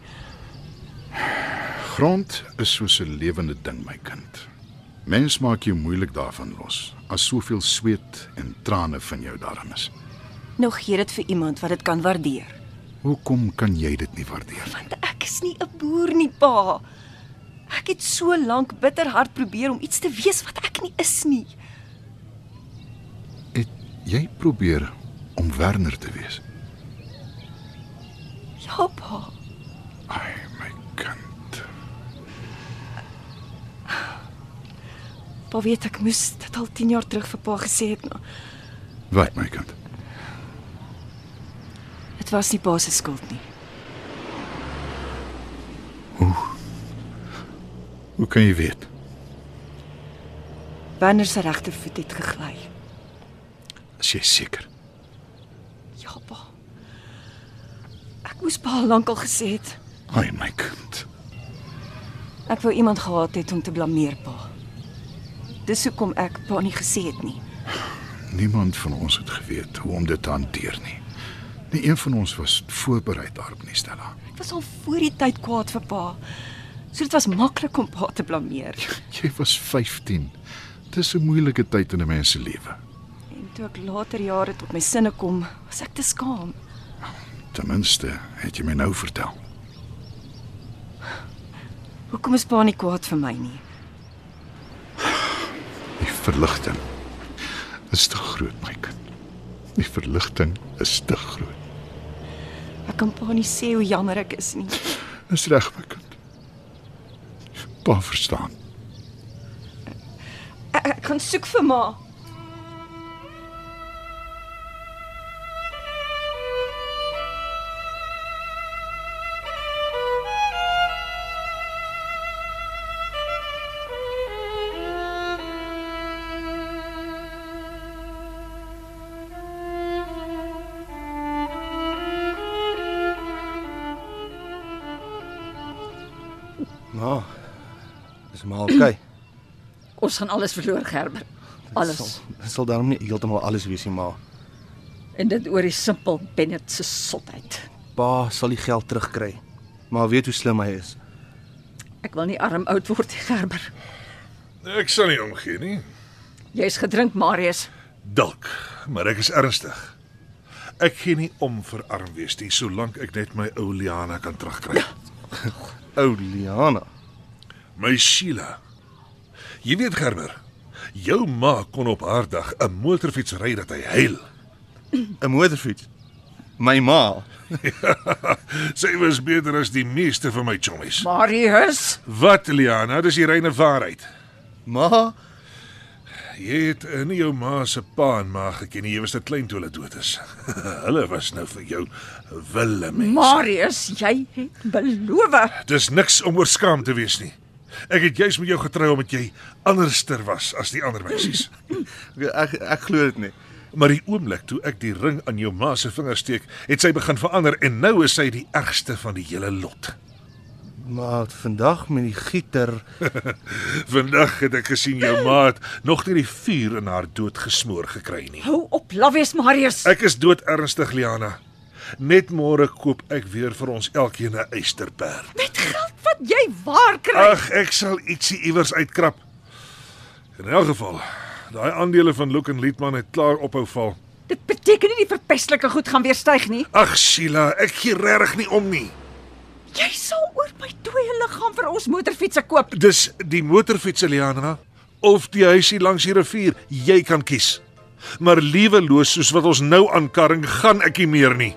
Grond is soos 'n lewende ding, my kind. Mens maak jou moeilik daarvan los, as soveel sweet en trane van jou daarin is. Nou gee dit vir iemand wat dit kan waardeer. Hoekom kan jy dit nie waardeer nie? Want ek is nie 'n boer nie, pa. Ek het so lank bitterhard probeer om iets te wees wat ek nie is nie. Het jy probeer om Werner te wees? Ja, pa. Ai, my kind. Pa weet ek moes dit al 10 jaar terug vir pa gesê het, maar Wat my kind? dit was nie pa se skuld nie. Hoe kan jy weet? Werner se regtervoet het gegly. As jy seker. Ja, pa. Ek moes pa lankal gesê het. Ai, my kind. Ek wou iemand gehad het om te blameer, pa. Dis hoekom ek pa nie gesê het nie. Niemand van ons het geweet hoe om dit te hanteer nie. Nie een van ons was voorberei daarop nie, Stella. Ek was al voor die tyd kwaad vir pa. So dit was maklik om pa te blameer. Jy was 15. Dis 'n moeilike tyd in 'n mens se lewe. En toe ek later jare tot my sinne kom, was ek te skaam. Ten minste het jy my nou vertel. Hoekom is pa nie kwaad vir my nie? Die verligting is te groot, my kind. Die verligting is te groot. Ek kan pa nie sê hoe jammer ek is nie. Dis reg, my kind. Pa verstaan. Ek, ek gaan soek vir ma. Ma. Is maar okay. Ons gaan alles verloor, Gerber. Alles. Dit sal daarom nie heeltemal alles wees nie, ma. En dit oor die simpel Bennett se sotheid. Pa sal die geld terugkry. Maar weet hoe slim hy is. Ek wil nie arm oud word, nie, Gerber. Ek sal nie omgee nie. Jy's gedrink, Marius. Dalk, maar ek is ernstig. Ek gee nie om vir arm wees nie, solank ek net my ou Liana kan terugkry. Ou Liana. My Sheila. Jy weet Gerber, jou ma kon op haar dag 'n motorfiets ry dat hy huil. 'n Motorfiets. My ma. Sy was beter as die meeste van my chommies. Marius, Wat Liana, dis die reine waarheid. Ma, Jy het eh, nie jou ma se pa en ma geken nie, jy was te klein toe hulle dood is. hulle was nou vir jou wille mense. Marius, jy het beloof. Dis niks om oor skaam te wees nie. Ek het juis met jou getrou omdat jy anderster was as die ander meisies. ek ek glo dit nie. Maar die oomblik toe ek die ring aan jou ma se vinger steek, het sy begin verander en nou is sy die ergste van die hele lot. Maar vandag met die gieter Vandag het ek gesien jou ma het nog nie die vuur in haar dood gesmoor gekry nie. Hou op, lafwees, Marius. Ek is dood ernstig, Liana. Net môre koop ek weer vir ons elkeen 'n eysterperd. Met geld wat jy waar kry. Ag, ek sal ietsie iewers uitkrap. In elk geval, daai aandele van Luke en Liedman het klaar ophou val. Dit beteken nie die verpestelike goed gaan weer styg nie. Ag Sheila, ek gee regtig nie om nie. Jy sal oor my dooie liggaam vir ons motorfietsse koop. Dis die motorfiets Eliana of die huisie langs die rivier, jy kan kies. Maar lieweloos soos wat ons nou aankarring, gaan ek nie meer nie.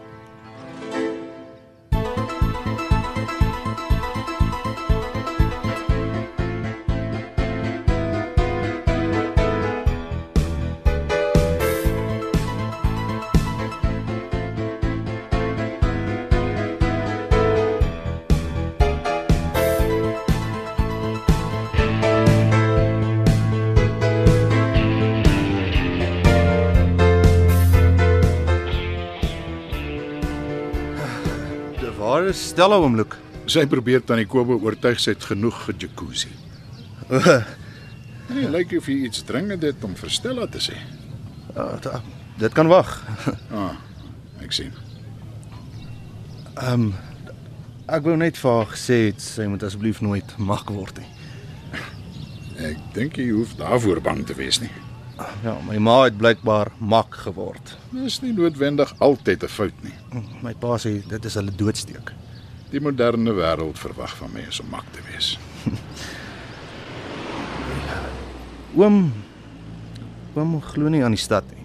De ware Stella oomlik. Sy probeer tannie Kobe oortuig sy het genoeg gejacuzzi. Nee, lyk of jy iets dringend het om vir Stella te sê. Ah, da- Dit kan wag. Ah, ek sien. Ek wou net vir haar gesê het sy moet asseblief nooit mag word nie. Ek dink jy hoef daarvoor bang te wees nie. Ja, my ma het blykbaar mak geword. Dis nie noodwendig altyd 'n fout nie. My pa sê dit is hulle doodsteek. Die moderne wêreld verwag van mense om mak te wees. Oom oom glo nie aan die stad nie.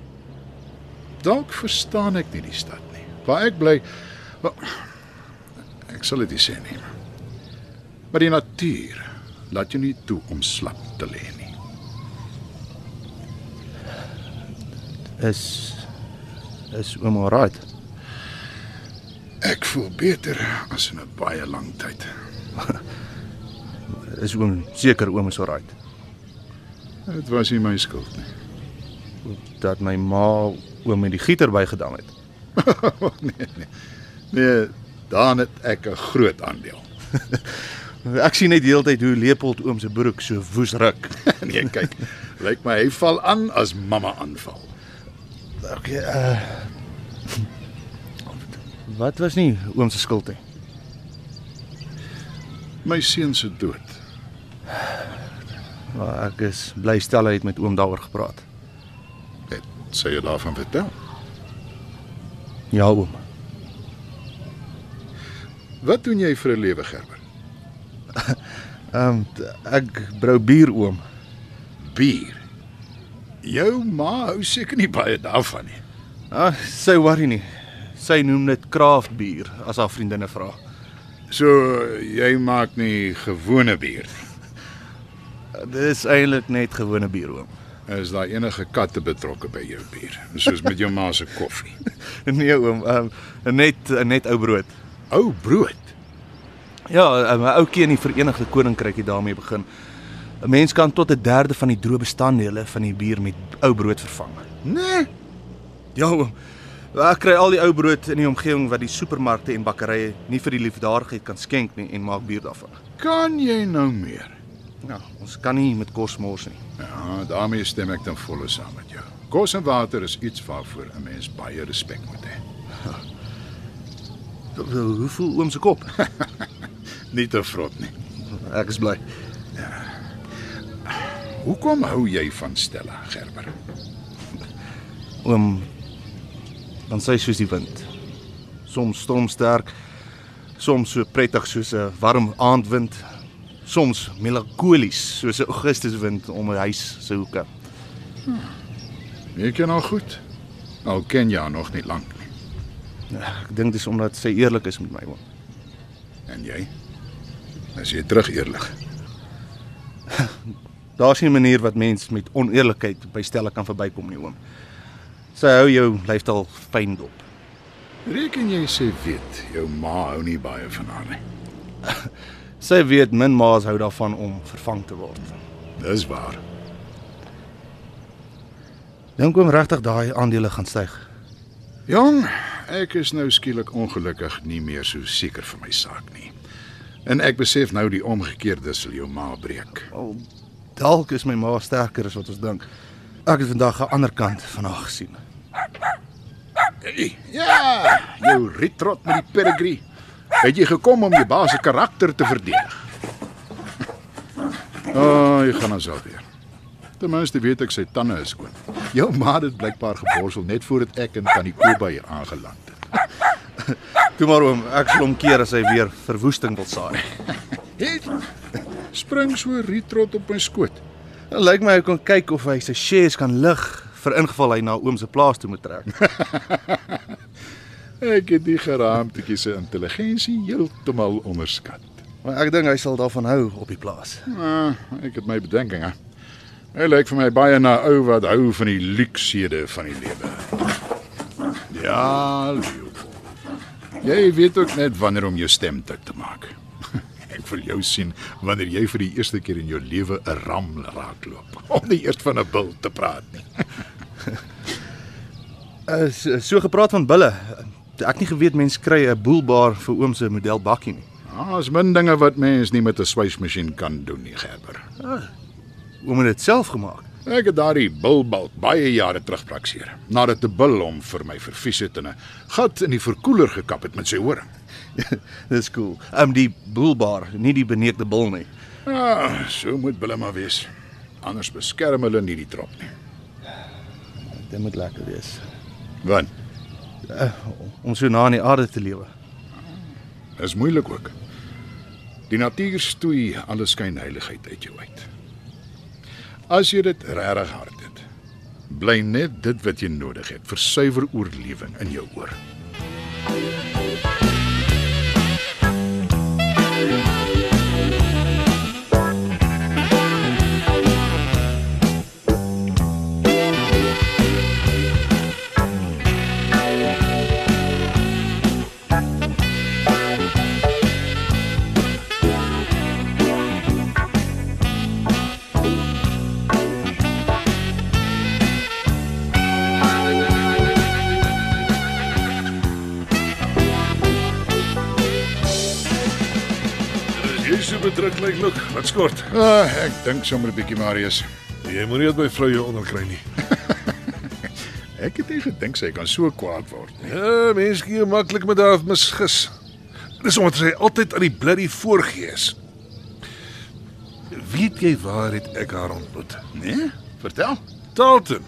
Dalk verstaan ek nie die stad nie. Waar ek bly, wel, ek sal dit nie sê nie. Maar die natuur laat jou nie toe om slap te lê nie. Is is oom alright? Ek voel beter as in 'n baie lang tyd. Is oom seker oom is alright? Dit was nie my skuld nie. Dat my ma oom met die gieter bygedam het. Nee, daan het ek 'n groot aandeel. Ek sien net die hele tyd hoe Leopold oom se broek so woes ruk. Nee, kyk, lyk my hy val aan as mamma aanval. Okay, uh Wat was nie oom se skuld nie? My seun se dood. Maar Ek is bly stel hy het met oom daaroor gepraat. Het sy jou daarvan vertel? Ja, oom. Wat doen jy vir 'n lewe, Gerber? Ehm t- ek brou bier oom. Bier. Jou ma hou seker nie baie daarvan nie. Ah, sy worry nie. Sy noem dit kraafbier as haar vriendinne vra. So jy maak nie gewone bier nie. Dis eintlik net gewone bier oom. Is daar enige katte betrokke by jou bier? Soos met jou ma se koffie. Nee oom, ehm net net ou brood. Ou brood. Ja, 'n ouetjie in die Verenigde Koninkryk het daarmee begin. 'n Mens kan tot 'n derde van die droë bestanddele van die bier met ou brood vervang. Nee, Ja, oom. Ek kry al die ou brood in die omgewing wat die supermarkte en bakkerye nie vir die liefdadigheid kan skenk nie en maak bier daarvan. kan jy nou meer? Ja, ons kan nie met kos mors nie. Ja, daarmee stem ek dan volle saam met jou. Kos en water is iets waarvoor 'n mens baie respek moet hê. Hoe voel oom se kop? Nie te vrot nie. Ek is bly. Hoekom hou jy van Stella Gerber? Oom dan sy soos die wind. Soms stormsterk, soms so prettig soos 'n warm aandwind, soms melankolies soos 'n Augustuswind om 'n huis se hoeke. Jy ken haar goed. Al ken jy haar nog nie lank nie. Ek dink dis omdat sy eerlik is met my oom. En jy? As jy terug eerlik. Daar's nie 'n manier wat mens met oneerlikheid by stelle kan verbykom nie oom. Sy hou jou lyfstaal fyn dop. Reken jy sê weet jou ma hou nie baie van haar nie. Sy weet min ma's hou daarvan om vervang te word. Dis waar. Dink oom regtig daai aandele gaan styg? Jong, ek is nou skielik ongelukkig nie meer so seker van my saak nie. En ek besef nou die omgekeerde sal jou ma breek. Al dalk is my ma sterker as wat ons dink. Ek het vandag aan die ander kant van haar gesien. Ja, jou ritrot met die pedigree. Het jy gekom om jou baas se karakter te verdedig? O, oh, jy gaan ons alweer. Ten minste weet ek sy tande is skoon. Jou ma het dit blykbaar geborsel net voordat ek en tannie Koba hier aangeland het. Toe maar oom, ek sal hom keer as hy weer verwoesting wil saai. het. Spring so ritrot op my skoot. Dit lyk my hy kon kyk of hy sy shares kan lig vir ingeval hy na oom se plaas toe moet trek. Ek het die geraamtetjie se intelligensie heeltemal onderskat. Maar ek dink hy sal daarvan hou op die plaas. Ah, ek het my bedenkinge. Hy lyk vir my baie na 'n ou wat hou van die luksede van die lewe. Ja, Leopold. Jy weet ook net wanneer om jou stem dik te maak. Ek wil jou sien wanneer jy vir die eerste keer in jou lewe 'n ram raakloop. Om nie eers van 'n bil te praat nie. Uh, so, so gepraat van bulle. Ek nie geweet mens kry 'n boelbaar vir oom se model bakkie nie. Daar's Ah, min dinge wat mens nie met 'n swysmasjien kan doen nie, Gerber. Oom het dit self gemaak. Ek het daardie bilbalk baie jare terug prakseer. Nadat 'n bil hom vir my vervies het en 'n gat in die verkoeler gekap het met sy horing. Dis cool. Ehm um, die boelbar, nie die beneekte bul nie. Ja, so moet hulle maar wees. Anders beskerm hulle nie die trop nie. Dit moet lekker wees. Want Om so na aan die aarde te lewe. is moeilik ook. Die natuur stoei alle skynheiligheid uit jou uit. As jy dit regtig hard het, bly net dit wat jy nodig het vir suiwer oorlewing in jou oor. Jy is so bedruk lyk look. Wat skort? Ah, ek dink sommer 'n bietjie Marius. Jy moenie dat my vrou jou onderkry nie. Ek het nie gedink sy kan so kwaad word nie. Ja, mense gee jou maklik met haar misgis. Dis omdat sy altyd aan die bloody voorgee is. Weet jy waar het ek haar ontmoet? Nee? Vertel. Dalton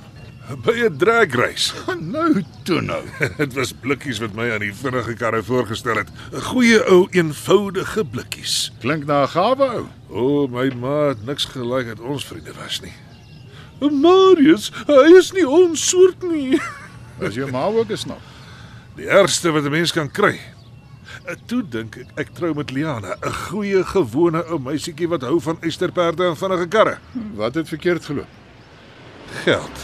by 'n drag race. Nou toe nou. Dit was blikkies wat my aan die vinnige karre voorgestel het. 'n Goeie ou eenvoudige blikkies. Klink na 'n gawe ou. O, oh, my ma het niks gelyk dat ons vriende was nie. Marius, hy is nie ons soort nie. As jou ma ook is nog. Die ergste wat 'n mens kan kry. Eh, Toe dink ek ek trou met Liana, 'n goeie gewone ou meisietjie wat hou van eysterperde en vinnige karre. Wat het verkeerd geloop? Geld.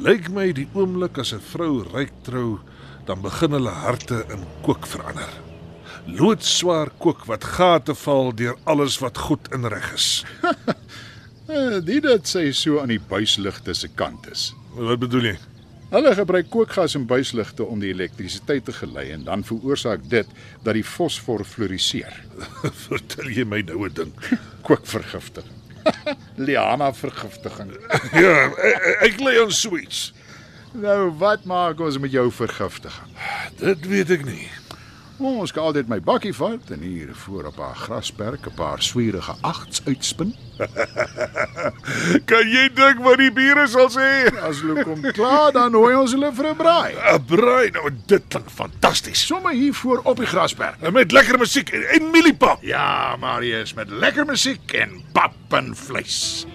Lyk my die oomblik as 'n vrou ryk trou, dan begin hulle harte in kook verander. Loodswaar kook wat gate val deur alles wat goed en reg is. Eh, Die dat sy so aan die buisligte se kant is. Wat bedoel jy? Hulle gebruik kookgas en buisligte om die elektrisiteit te gelei en dan veroorsaak dit dat die fosfor fluoriseer. Vertel jy my nou 'n ding. Kookvergiftiging. Liana vergiftiging. Ja, ek, ek lê aan sweets. Nou wat maak ons met jou vergiftiging? Dit weet ek nie. Ons kan altyd my bakkie vat en hier voor op haar grasperk 'n paar swierige agts uitspin. Kan jy dink wat die bure sal sê? As hulle kom klaar dan hooi ons hulle vir 'n braai. 'n Braai nou, dit klink fantasties. Sommige hier voor op die grasperk. Met lekker musiek en, en mieliepap. Ja, Marius met lekker musiek en pap en vleis.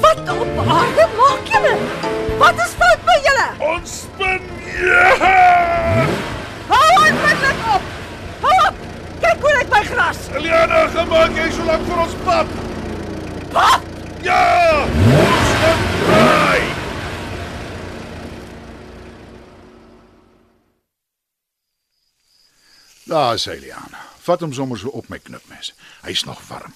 Wat op aarde maak julle? Wat is fout by julle? Ons spin. Ja! Hou onmiddellik op. Hou op. Kyk hoe lyk my gras. Eliana, gemaak jy so lank vir ons pap. Wat? Ja! Ons spin braai. Daar sê Liana. Vat hom sommer so op my knipmes. Hy's nog warm.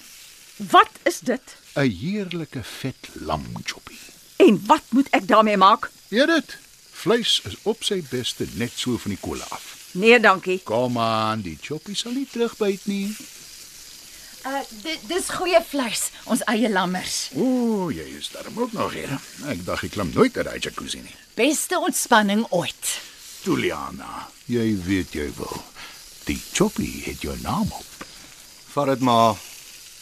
Wat is dit? 'n Heerlike vet lamjoppie. En wat moet ek daarmee maak? Eet dit. Vleis is op sy beste net so van die kolle af. Nee, dankie. Kom aan, die choppie sal nie terugbyt nie. Uh, dit dis goeie vleis, ons eie lammers. Ooh, jy is darm ook nog hier. Ek dink ek klim nooit uit daai jacuzzi nie. Beste ontspanning ooit. Toe Liana, jy weet jy wil. Die choppie het jou naam op. Vat dit maar.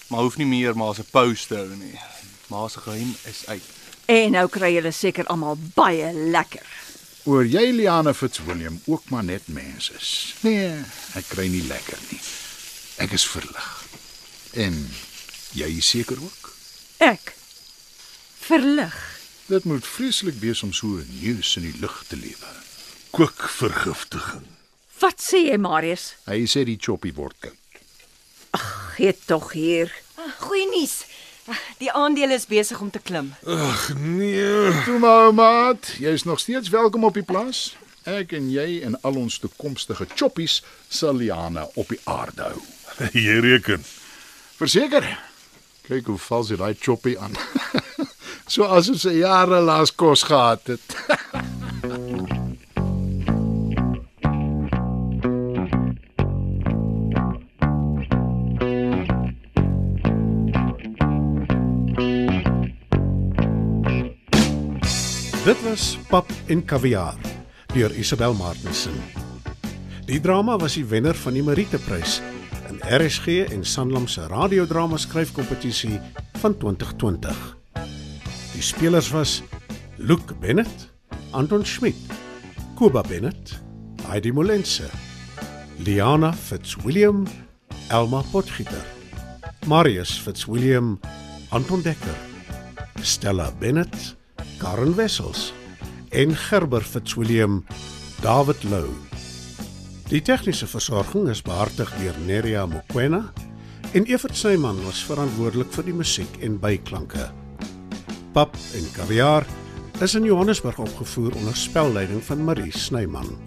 Maar hoef nie meer maar as 'n post te hou nie. nee. Maar se geheim is uit. En nou kry julle seker almal baie lekker. Oor jy Liana Fitzwilliam ook maar net mens is. Nee, ek kry nie lekker nie. Ek is verlig. En jy is seker ook. Ek verlig. Dit moet vreeslik wees om so neus in die lug te lewe. Kookvergiftiging. Wat sê jy, Marius? Hy sê die choppie word koud. Gee tog hier. Ah, Goeie nuus. Die aandele is besig om te klim. Ag nee. Toe maar maat, jy's nog steeds welkom op die plaas. Ek en jy en al ons toekomstige choppies sal Liana op die aarde hou. Jy reken. Verseker. Kyk hoe vals hy daai choppie aan. so asof sy jare laas kos gehad het. Dit was Pap en Kaviaar deur Isabel Martensen. Die drama was die wenner van die Meriteprys in RSG en Sanlam se radiodrama skryfkompetisie van 2020. Die spelers was Luke Bennett, Anton Schmidt, Kuba Bennett, Heidi Molense, Liana Fitzwilliam, Elma Potgieter, Marius Fitzwilliam, Anton Dekker, Stella Bennett, Karen Wessels en Gerber Fitzwilliam, David Lou. Die tegniese versorging is behartig deur Nerea Mokoena en Evert Snyman was verantwoordelik vir die musiek en byklanke. Pap en Kaviaar is in Johannesburg opgevoer onder spelleiding van Marie Snyman.